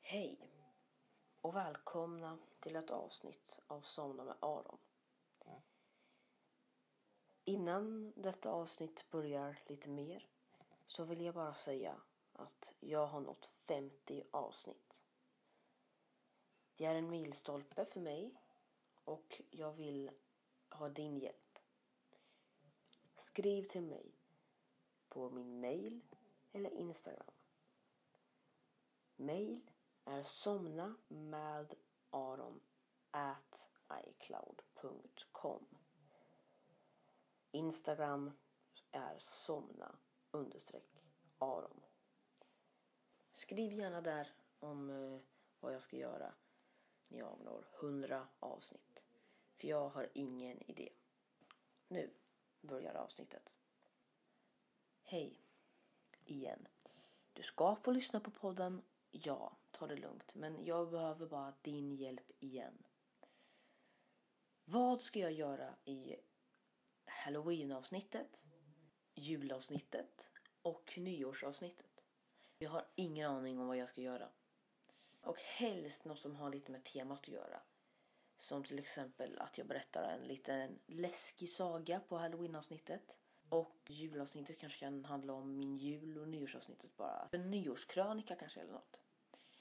Hej och välkomna till ett avsnitt av Somna med Aron. Innan detta avsnitt börjar lite mer så vill jag bara säga att jag har nått 50 avsnitt. Det är en milstolpe för mig och jag vill ha din hjälp. Skriv till mig på min mail eller Instagram. Mail är somna med Aron at icloud.com. Instagram är somna understreck Aron. Skriv gärna där om eh, vad jag ska göra när jag når 100 avsnitt. För jag har ingen idé. Nu börjar avsnittet. Hej igen. Du ska få lyssna på podden, ja, ta det lugnt. Men jag behöver bara din hjälp igen. Vad ska jag göra i halloween-avsnittet, julavsnittet och nyårsavsnittet? Jag har ingen aning om vad jag ska göra. Och helst något som har lite med temat att göra. Som till exempel att jag berättar en liten läskig saga på halloweenavsnittet. Och julavsnittet kanske kan handla om min jul och nyårsavsnittet bara. En nyårskrönika kanske eller något.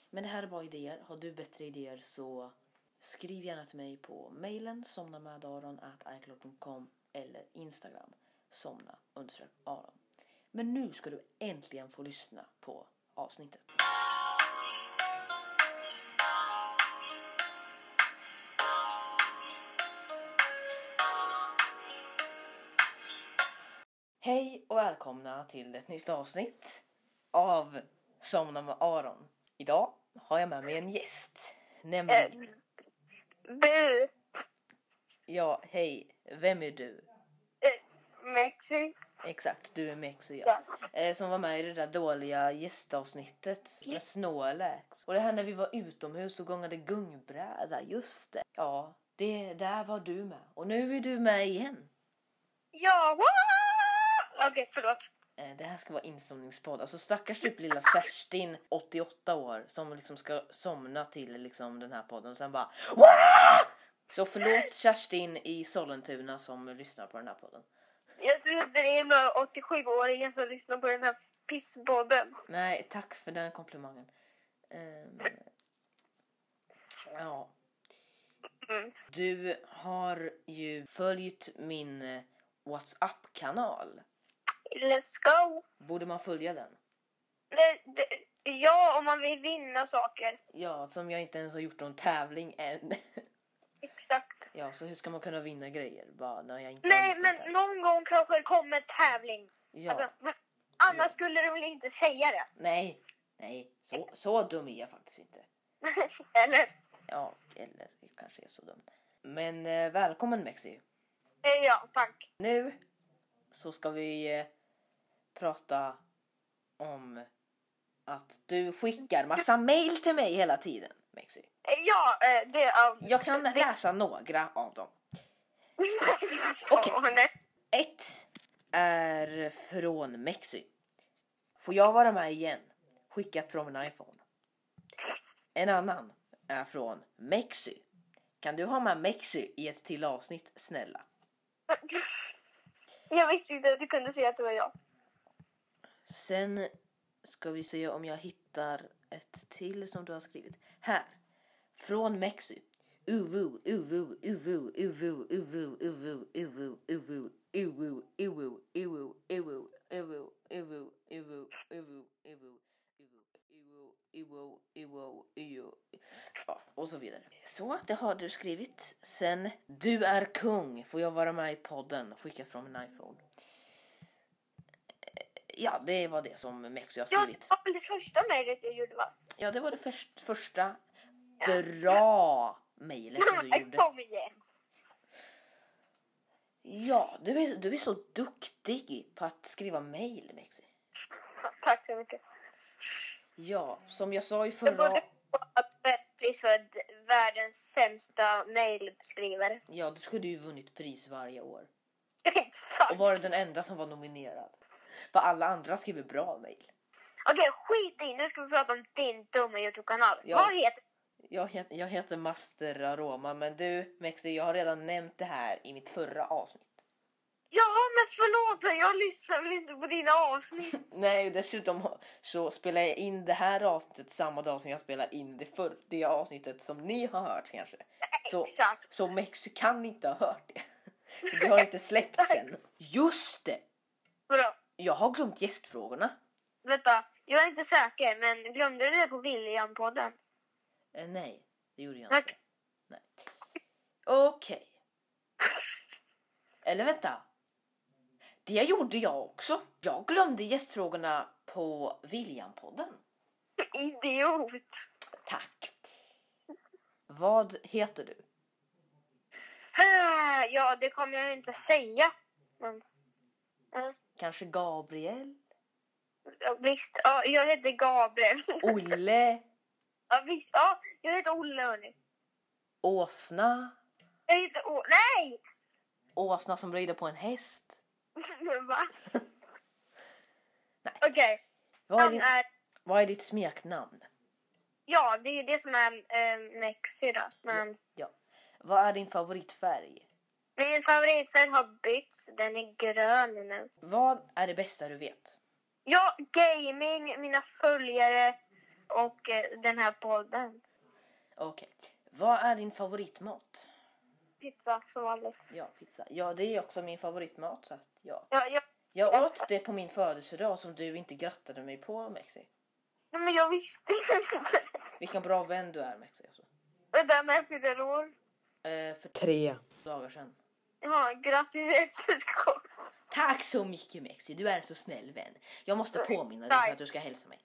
Men det här är bara idéer. Har du bättre idéer så skriv gärna till mig på mejlen somnamedaron.icloud.com eller Instagram somna underströk aron. Men nu ska du äntligen få lyssna på avsnittet. Hej och välkomna till ett nytt avsnitt av Somna med Aron. Idag har jag med mig en gäst. Nämligen, Eh, Bu! ja, hej, vem är du? Mexi. Exakt, du är Mexi ja. eh, Som var med i det där dåliga gästavsnittet med Snorlax. Och det här när vi var utomhus och gångade gungbräda, just det. Ja, det, där var du med. Och nu är du med igen. Ja! wah! Okej, förlåt. Eh, Det här ska vara insomningspodd. Alltså stackars typ lilla Kerstin, 88 år, som liksom ska somna till liksom den här podden och sen bara "Wah!" Så förlåt Kerstin i Sollentuna som lyssnar på den här podden. Jag trodde det är några 87-åringar som lyssnar på den här pisspodden. Nej, tack för den komplimangen. Ehm, ja. Mm. Du har ju följt min eh, WhatsApp-kanal. Let's go! Borde man följa den? Det, det, ja, om man vill vinna saker. Ja, som jag inte ens har gjort någon tävling än. Exakt. Ja, så hur ska man kunna vinna grejer? Bara när jag inte har Nej, gjort något men någon gång kanske det kommer en tävling. än. Ja, Alltså, va- annars skulle de väl inte säga det? nej, nej, så, så dum är jag faktiskt inte. Eller? Ja, eller jag kanske är så dum. Men eh, välkommen Mexi. Eh, Ja, tack. Nu så ska vi eh, prata om att du skickar massa mail till mig hela tiden, Mexi. Eh, Ja, eh, det... Ja. Jag kan läsa några av dem. Okej. nej. Ett är från Mexi. Får jag vara med igen? Skickat från min iPhone. En annan är från Mexi. Kan du ha med Mexi i ett till avsnitt snälla? Jag visste inte att du kunde säga att det var jag. Sen ska vi se om jag hittar ett till som du har skrivit. Här. Från Mexi. Uvu, uvu, uvu, uvu, uvu, uvu, uvu, uvu, uvu, uvu, uvu, uvu, uvu, uvu, uvu, uvu, uvu, uvu, uvu, uvu, uvu. Ja, och så vidare. Så, det har du skrivit. Sen, du är kung. Får jag vara med i podden? Skicka från min iPhone. Ja, det var det som Mexi har Ja, skrivit. det var väl det första mejlet jag gjorde va? Ja, det var det först, första bra mejlet som du gjorde. Kom igen! Ja, du är, du är så duktig på att skriva mejl, Mexi. Tack så mycket. Ja, som jag sa i Jag förra... borde få ett bättre för d- världens sämsta mejlskrivare. Ja, du skulle ju vunnit pris varje år. Och Exakt! var den enda som var nominerad. För alla andra skriver bra mejl. Okej, skit i. Nu ska vi prata om din dumma Youtube-kanal. Ja. Vad heter Jag heter, jag heter Master Aroma, men du Mexi, jag har redan nämnt det här i mitt förra avsnitt. Ja, men förlåt. Jag lyssnar väl inte på dina avsnitt. Nej, dessutom så spelar jag in det här avsnittet samma dag som jag spelar in det förra det avsnittet som ni har hört kanske. Så, Exakt. så Mexi kan inte ha hört det. För Det har inte släppts än. Just det! Vadå? Jag har glömt gästfrågorna. Vänta, jag är inte säker, men glömde du det på William-podden? Eh, nej, det gjorde jag Nej. inte. Nej. Okej. Eller vänta. Det gjorde jag också. Jag glömde gästfrågorna på William-podden. Idiot! Tack. Vad heter du? Ah, Ja, det kommer jag ju inte säga. Men, Kanske Gabriel? ja, visst, ja, jag heter Gabriel. Olle? Ja, visst, ja, jag heter Olle, hörni. Åsna? Jag heter Olle. Nej! Åsna som rider på en häst? Men va? Nej. Okej, Vad är han ditt, är... vad är ditt smeknamn? Ja, det är ju det som är eh, Mexi då. Men Ja. Vad är din favoritfärg? min favoritfärg har bytts. Den är grön nu. Vad är det bästa du vet? Ja, gaming, mina följare och eh, den här podden. Okej. Vad är din favoritmat? Pizza som vanligt. Ja, pizza. Ja, det är också min favoritmat. Så att, ja. Ja, jag, Jag åt det på min födelsedag som du inte grattade mig på, Mexi. nej, men jag visste inte. Vilken bra vän du är, Mexi. Alltså. Det där med fyller år. Eh, för Tre. dagar sedan. Ja, grattis i efterskott. Tack så mycket, Mexi. Du är en så snäll vän. Jag måste påminna dig för att du ska hälsa mig.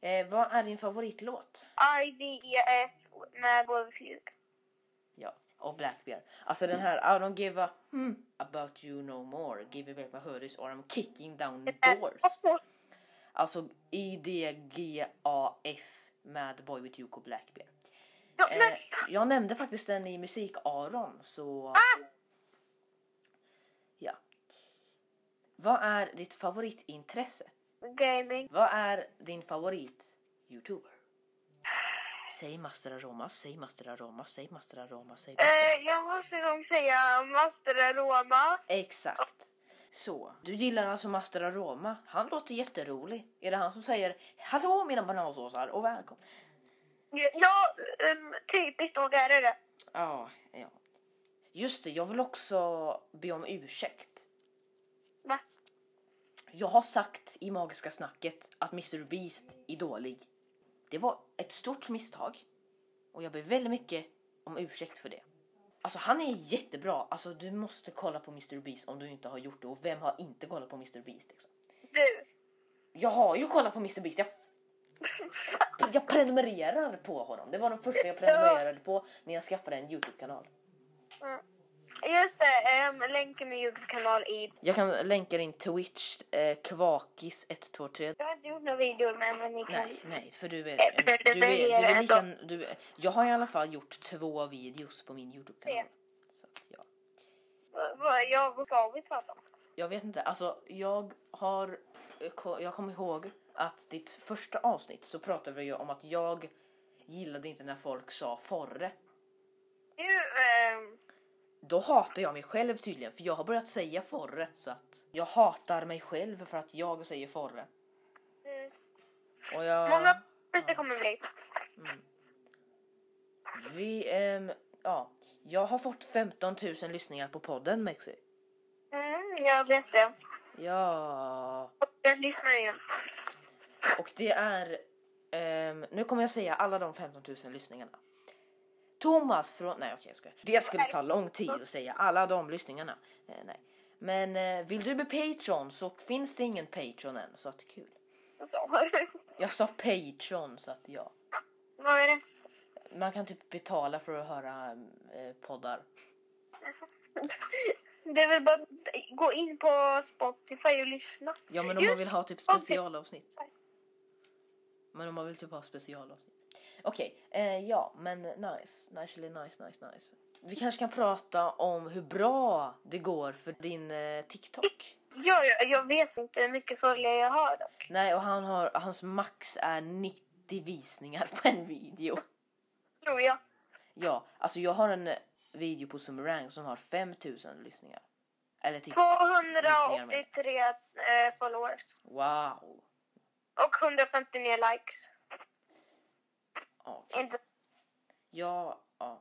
Eh, vad är din favoritlåt? IDEF med Wolfjuk. Ja, och Blackbeard. Alltså den här I don't give a hmm about you no more. Give me back my hoodies or I'm kicking down Eh, doors. Alltså IDGAF med Boy With Yuko Blackbeard. Ja, Eh, men fan, jag nämnde faktiskt den i musik-Aron så... Ja. Vad är ditt favoritintresse? gaming. Vad är din favorit youtuber? Säg Master Aroma, säg Master Aroma, säg Master Aroma, säg Master Aroma. Eh, jag måste nog säga Master Aroma. Exakt. Så, du gillar alltså Master Aroma. Han låter jätterolig. Är det han som säger Hallå mina banansåsar och välkommen? Ja, um, typiskt nog är det det. Ja, ja. Just det, jag vill också be om ursäkt. Va? Jag har sagt i Magiska snacket att Mr Beast är dålig. Det var ett stort misstag och jag ber väldigt mycket om ursäkt för det. Alltså han är jättebra, alltså du måste kolla på Mr Beast om du inte har gjort det och vem har inte kollat på Mr Beast? Liksom? Du. Jag har ju kollat på Mr Beast, jag, jag prenumererar på honom. Det var den första jag prenumererade på när jag skaffade en Youtube-kanal. Just det, um, länken med Youtube-kanal i... Jag kan länka din Twitch, eh, kvakis123. Jag har inte gjort några videor med men ni kan... Nej, nej, för du är, Eh, du är, du är lika, du är, Jag har i alla fall gjort två videos på min Youtube-kanal. Så att, ja. Vad- vad- Ja, vad ska vi prata om? Jag vet inte, alltså jag har, eh, jag kommer ihåg att ditt första avsnitt så pratade vi ju om att jag gillade inte när folk sa forre. Du, ehm, Då hatar jag mig själv tydligen för jag har börjat säga forre så att jag hatar mig själv för att jag säger forre. mm, Och jag... många det kommer bli. Vi, ehm, ja. Jag har fått 15 000 lyssningar på podden Mexi. Mm, jag vet det. Ja. Och den lyssnar ju. Och det är, ehm, nu kommer jag säga alla de 15 000 lyssningarna. Thomas från, nej okej jag skojar. Det skulle ta lång tid att säga alla de lyssningarna. Eh, nej. Men eh, vill du bli Patreon så finns det ingen Patreon än så att kul. Jag sa Patreon så att ja. Vad är det? Man kan typ betala för att höra eh, poddar. Det är väl bara att gå in på Spotify och lyssna. Ja men om man Just- vill ha typ okej. specialavsnitt. Men om man vill typ ha specialavsnitt. Okej, eh, ja men nice. Nicely nice, nice, nice. Vi kanske kan prata om hur bra det går för din eh, TikTok. Ja, jag, jag vet inte hur mycket följare jag har dock. Nej, och han har, hans max är 90 visningar på en video. Tror jag. Ja, alltså jag har en eh, video på Sumerang som har 5000 lyssningar. Eller titt. 283 eh, followers. Wow. Och 159 likes. Ja, Inte ja, ja.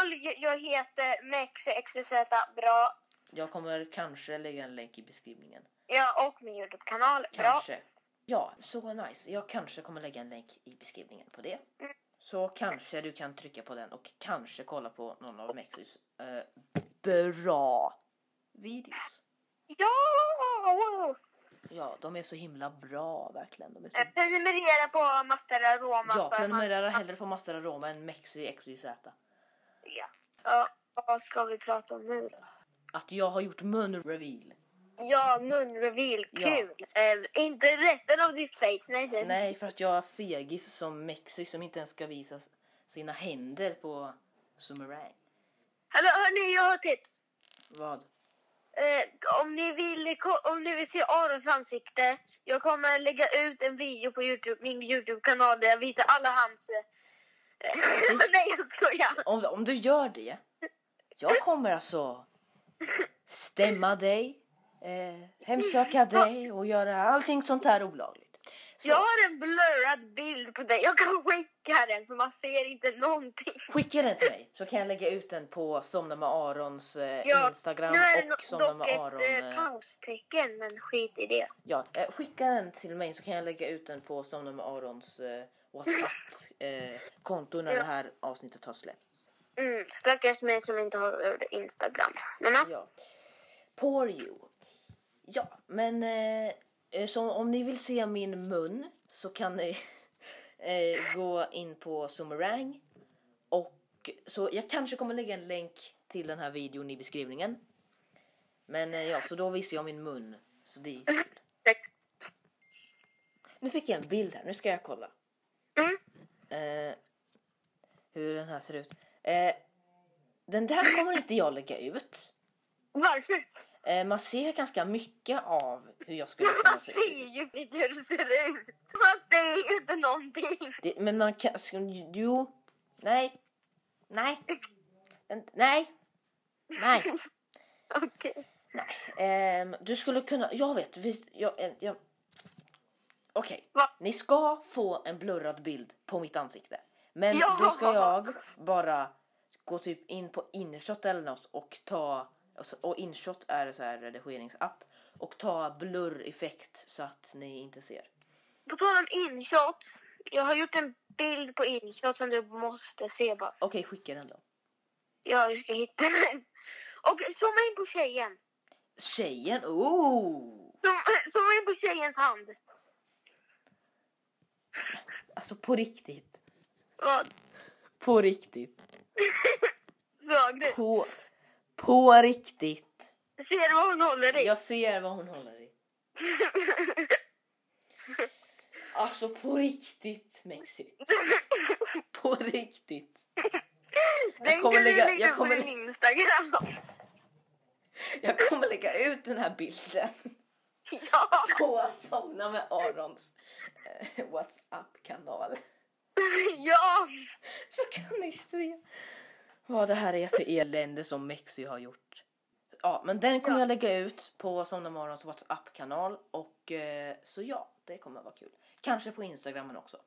Följ, jag heter MexXYZ bra. Jag kommer kanske lägga en länk i beskrivningen. Ja, och min Youtube-kanal. Bra. Kanske. Ja, så nice. Jag kanske kommer lägga en länk i beskrivningen på det. Så kanske du kan trycka på den och kanske kolla på någon av Mexys eh, bra videos. Ja! wow. Ja, de är så himla bra verkligen. De är så... Eh, Prenumerera på Master Aroma. Ja, för man- prenumerera hellre på Master Aroma än Mexy XYZ. Ja. Ja, vad ska vi prata om nu då? Att jag har gjort munreveal. Ja, munreveal. Kul! Eh, inte resten av ditt face. Nej, det- Nej, för att jag är fegis som Mexy som inte ens ska visa sina händer på Sumerang. Hallå, hörni, jag har ett tips. Vad? Eh, om, ni vill, ko- om ni vill se Arons ansikte, jag kommer lägga ut en video på YouTube, min Youtube-kanal där jag visar alla hans... eh, Nej, jag skojar! Om, om du gör det. Jag kommer alltså stämma dig, eh, hemsöka dig och göra allting sånt här olagligt. Så Jag har en blurrad bild på dig. Jag kan skicka den för man ser inte någonting. skicka den till mig så kan jag lägga ut den på Somna med Arons eh, Ja, Instagram nu är det och Somna no- dock med ett Aron. eh, Eh, paustecken, men skit i det. ja, eh, skicka den till mig så kan jag lägga ut den på Somna med Arons eh, WhatsApp-konto när det här avsnittet har släppts. Mm, stackars mig som inte har eh, Instagram. Men, ja. Ja. Poor you. Ja, men eh, eh, så om ni vill se min mun så kan ni eh, gå in på Sumerang. Och så jag kanske kommer lägga en länk till den här videon i beskrivningen. Men eh, ja, så då visar jag min mun. Så det är kul. Nu fick jag en bild här, nu ska jag kolla. Mm. Eh, hur den här ser ut. Eh, den där kommer inte jag lägga ut. Varför? Eh, man ser ganska mycket av hur jag skulle kunna Man se ser ju inte hur du ser ut. Man ser ju inte någonting. det, Men man kan... sk- Jo. Nej. Nej. Den- Nej. Nej. Okej. Ehm, du skulle kunna... Jag vet. Visst, jag, eh, jag... Okej. Va? Ni ska få en blurrad bild på mitt ansikte. Men Ja! då ska jag bara gå typ in på InShot eller något och ta... och så- Och InShot är så här redigeringsapp. Och ta blurr-effekt så att ni inte ser. På tal om inshot. Jag har gjort en bild på inshot som du måste se bara. Okej, skicka den då. Jag ska hitta den. Och zooma in på tjejen. Tjejen, oh! Zoom- Zooma in på tjejens hand. Alltså på riktigt. Vad? På riktigt. Såg du? På, på riktigt. Ser du vad hon håller i? Jag ser vad hon håller i. Alltså på riktigt, Mexi. På riktigt. den kommer kan lägga- du lägga jag kommer- på din Instagram. Jag kommer lägga ut den här bilden Ja. på Somna med Arons eh, Whatsapp-kanal. ja. Så kan ni se vad det här är för elände som Mexi har gjort. Ja, men den kommer Ja. jag lägga ut på Somna Morgons WhatsApp-kanal. Och eh, så ja, det kommer vara kul. Kanske på Instagrammen också.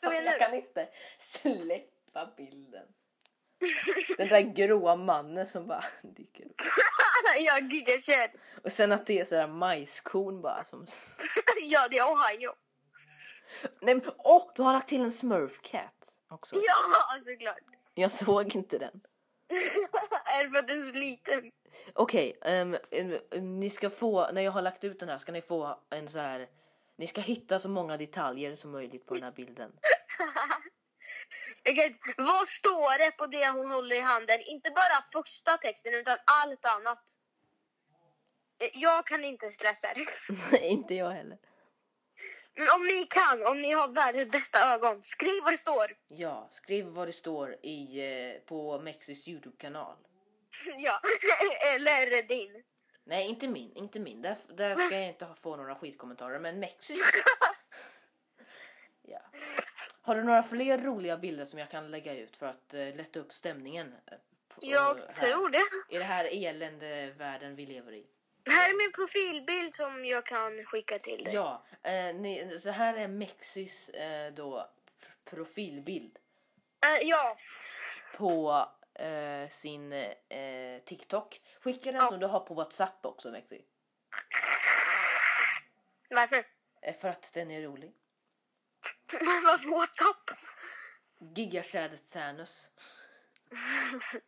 Vad är Jag det kan inte släppa bilden. Den där gråa mannen som bara dyker upp. nu? Alltså, Jag giggar kär. Och sen att det är sådär majskorn bara som... Ja, det är Ohio. Nej men åh! Du har lagt till en smurfcat också. Ja, såklart. Jag såg inte den. är det för att du är så liten? Okej, ehm, em, em, ni ska få, när jag har lagt ut den här ska ni få en så här. Ni ska hitta så många detaljer som möjligt på den här bilden. Jag kan inte- Vad står det på det hon håller i handen? Inte bara första texten, utan allt annat. Eh, Jag kan inte stressa er. Nej, inte jag heller. Men om ni kan, om ni har världens bästa ögon, skriv vad det står. Ja, skriv vad det står i, eh, på Mexys Youtube-kanal. ja, eller din. Nej, inte min. Inte min. Där, där ska jag inte ha- få några skitkommentarer. Men Mexi. ja. Har du några fler roliga bilder som jag kan lägga ut för att eh, lätta upp stämningen? eh, på- Jag här? tror det. I det här elände världen vi lever i. Här är min profilbild som jag kan skicka till dig. Ja, eh, ni, så här är Mexis eh, då f- profilbild Eh, ja. på eh, sin eh, TikTok. Skicka den Ja. som du har på WhatsApp också Mexi. Varför? Eh, för att den är rolig. Varför WhatsApp? Gigatjädret Thanos. Ska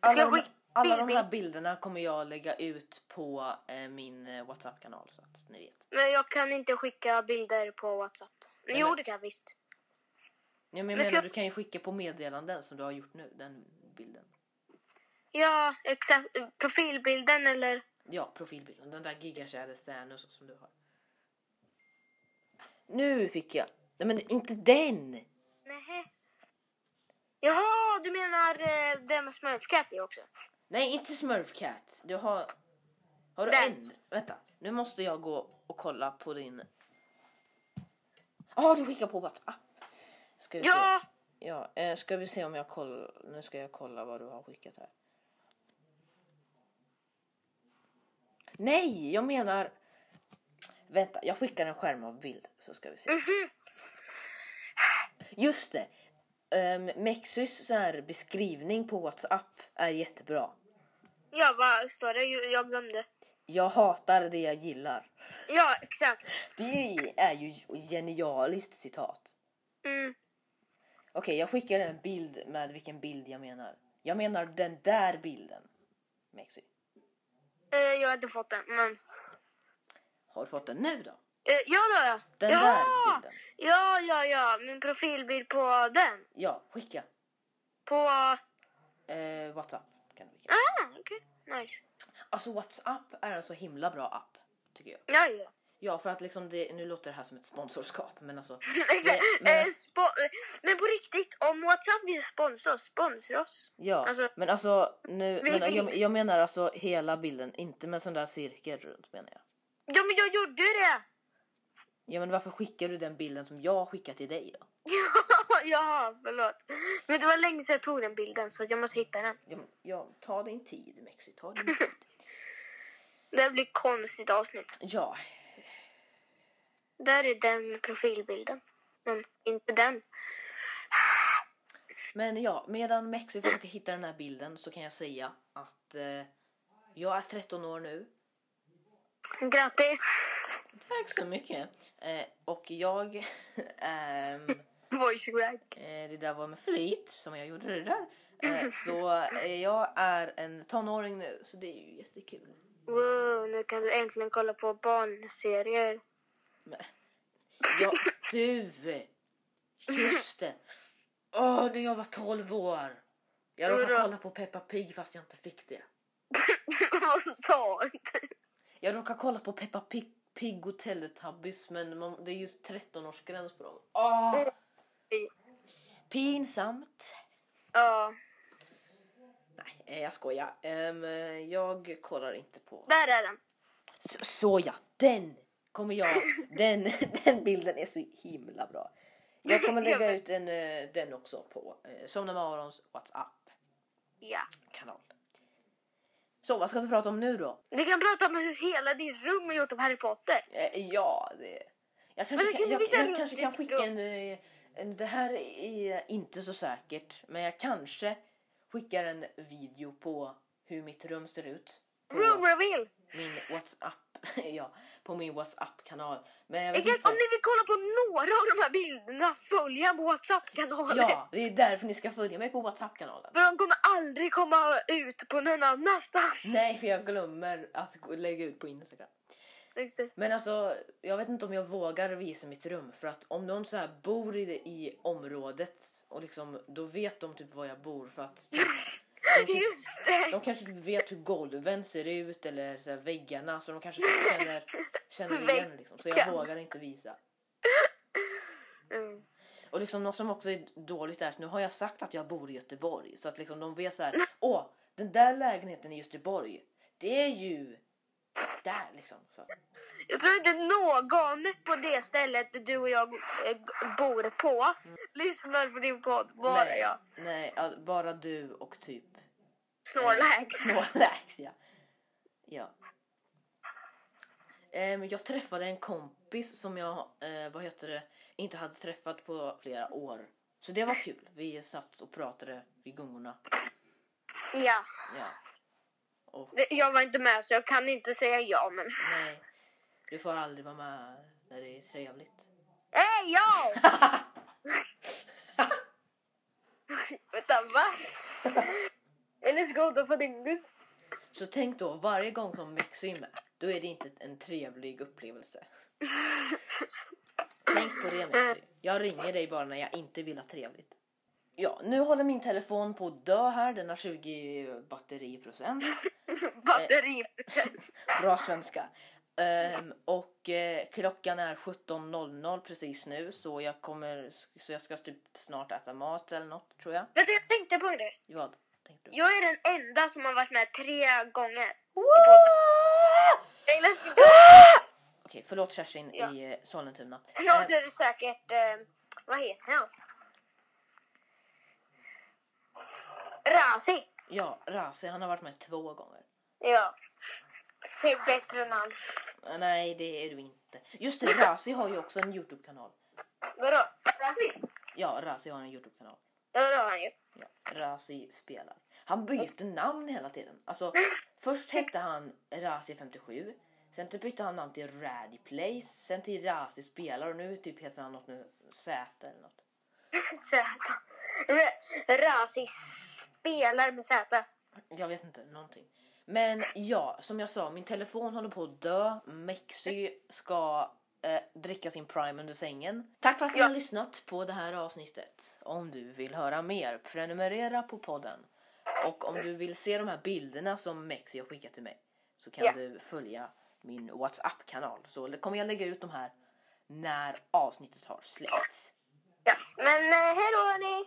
Alla jag de, skicka alla de bild- här bilderna kommer jag lägga ut på eh, min eh, WhatsApp-kanal så att ni vet. Nej, jag kan inte skicka bilder på WhatsApp. jo, men- det kan jag visst. Ja, men jag Men menar ska- du kan ju skicka på meddelanden som du har gjort nu, den bilden. Ja, exakt. Profilbilden eller? Ja, profilbilden, den där gigatjädret Thanos som du har. Nu fick jag! Nej men inte den! Nej. Jaha, du menar eh, den med smurfkatt i också? Nej, inte Smurfcat. Du har... Har du Den. en? Vänta, nu måste jag gå och kolla på din... Ja, ah, du skickar på WhatsApp. Ska vi Ja, se. Ja, eh, ska vi se om jag kollar. Nu ska jag kolla vad du har skickat här. Nej, jag menar... Vänta, jag skickar en skärm av bild så ska vi se. Mhm. Just det. Um, Mexys så här beskrivning på WhatsApp är jättebra. ja vad står det? Jo, Jag glömde. Jag hatar det jag gillar. Ja, exakt. Det är ju genialiskt citat. Mm. Okej, jag skickar en bild med vilken bild jag menar. Jag menar den där bilden. Mexi. Eh, jag har inte fått den, men... Har du fått den nu då? Eh, ja, då, ja. Den ja! där bilden. Ja, ja, ja. Min profilbild på den. Ja, skicka. På... Ah, Eh, Whatsapp kan du skicka. okej. Nice. Alltså Whatsapp är en så himla bra app. Tycker jag. Ja, ja. Ja, för att liksom det, nu låter det här som ett sponsorskap men alltså. Exakt. men- Eh, spo- eh, men på riktigt, om WhatsApp vill sponsra oss, sponsra oss. Ja, Alltså- men alltså nu, Vi- men, jag, jag menar alltså hela bilden, inte med sån där cirkel runt menar jag. Ja, men jag gjorde det! Ja men varför skickar du den bilden som jag skickar till dig då? Ja, ja, förlåt. Men det var länge sedan jag tog den bilden så jag måste hitta den. Ja, men, ja, ta din tid Mexi, ta din tid. Det här blir ett konstigt avsnitt. Ja, Där är den profilbilden. Men inte den. men ja, medan Mexi försöker hitta den här bilden så kan jag säga att eh, jag är 13 år nu. Grattis! Tack så mycket. Eh, och jag, ehm, Voice crack. eh, det där var med flit som jag gjorde det där. Eh, så eh, jag är en tonåring nu så det är ju jättekul. Wow, nu kan du äntligen kolla på barnserier. Men- Ja, du! Just det! Åh, när jag var 12 år! Jag råkade Vadå? kolla på Peppa Pig fast jag inte fick det. Vad sa du? Jag råkade kolla på Peppa Pig, Pig och Teletubbies men man, det är just 13-årsgräns på dem. Åh! Pinsamt! Ja, Nej, eh, jag skojar. Ehm, eh, jag kollar inte på... där är den. Så, såja, den kommer jag... Den, den bilden är så himla bra. Jag kommer lägga ut en, eh, den också på eh, Somna med Arons WhatsApp. Ja. kanal. Så vad ska vi prata om nu då? Vi kan prata om hur hela ditt rum är gjort av Harry Potter. Eh, ja, det... Jag kanske Men det kan, kan jag, vi köra jag kanske kan lite skicka då. en, eh, en... Det här är inte så säkert, men jag kanske skickar en video på hur mitt rum ser ut. På Room reveal! min WhatsApp. ja, på min WhatsApp-kanal. Men jag vet Exakt, inte. om ni vill kolla på några av de här bilderna, följ på WhatsApp-kanalen. Ja, det är därför ni ska följa mig på WhatsApp-kanalen. För de kommer aldrig komma ut på någon annanstans. Nej, för jag glömmer att gå- lägga ut på Instagram. Men alltså, jag vet inte om jag vågar visa mitt rum för att om någon så här bor i, det, i området och liksom, då vet de typ var jag bor för att de, typ, Just det! de kanske typ vet hur golven ser ut eller så här väggarna så de kanske typ känner, känner igen liksom. Så jag Väggarna. vågar inte visa. Mm. Och liksom något som också är dåligt är att nu har jag sagt att jag bor i Göteborg. Så att liksom de vet så här. Åh, den där lägenheten i Göteborg. Det är ju där liksom. Så. att- Jag tror inte någon på det stället du och jag eh, bor på lyssnar på din podd. Bara Mm. nej, jag. Nej, ja, bara du och typ Snorlax. Snorlax. ja. ja. Ehm, jag träffade en kompis som jag, eh, vad heter det, inte hade träffat på flera år. Så det var kul. Vi satt och pratade vid gungorna. Ja. Ja. Och Det- Jag var inte med så jag kan inte säga ja men... nej, du får aldrig vara med när det är trevligt. Hej ja! Vänta va? Eller ska hon få din buss? Så tänk då, varje gång som Mexi är med, då är det inte en trevlig upplevelse. Tänk på det Eh, Mexi. Jag ringer dig bara när jag inte vill ha trevligt. Ja, nu håller min telefon på att dö här. Den har 20 batteriprocent. Batteri. Eh. Bra svenska. Ehm, och eh, klockan är 17.00 precis nu så jag kommer, så jag ska typ snart äta mat eller något tror jag. Vänta jag tänkte på det. Vad tänkte du? Jag är den enda som har varit med tre gånger. Wow! Eller så Okej, förlåt Kerstin Ja. i eh, Sollentuna. jag Eh, tror säkert... Eh, vad heter han? Razi. Ja, Razi, han har varit med två gånger. Ja. Det är bättre än han. Eh, Nej, det är du inte. Just det, Razi har ju också en YouTube-kanal. Vadå? Razi? Ja, Razi har en YouTube-kanal. Ja det har han ju. Ja, Razi spelar. Han byter namn hela tiden. Alltså, först hette han Razi57. Sen typ bytte han namn till Raddy Place. Sen till Razi spelar och nu typ heter han något med Z eller något. Z. R- Razi spelar med Z. Jag vet inte, någonting. Men ja, som jag sa, min telefon håller på att dö. Mexy ska eh, dricka sin Prime under sängen. Tack för att ni Ja. har lyssnat på det här avsnittet. Om du vill höra mer, prenumerera på podden. Och om du vill se de här bilderna som Mexy har skickat till mig så kan Ja. du följa min WhatsApp-kanal. Så kommer jag lägga ut de här när avsnittet har släppts. Ja. Men eh, hej då hörni!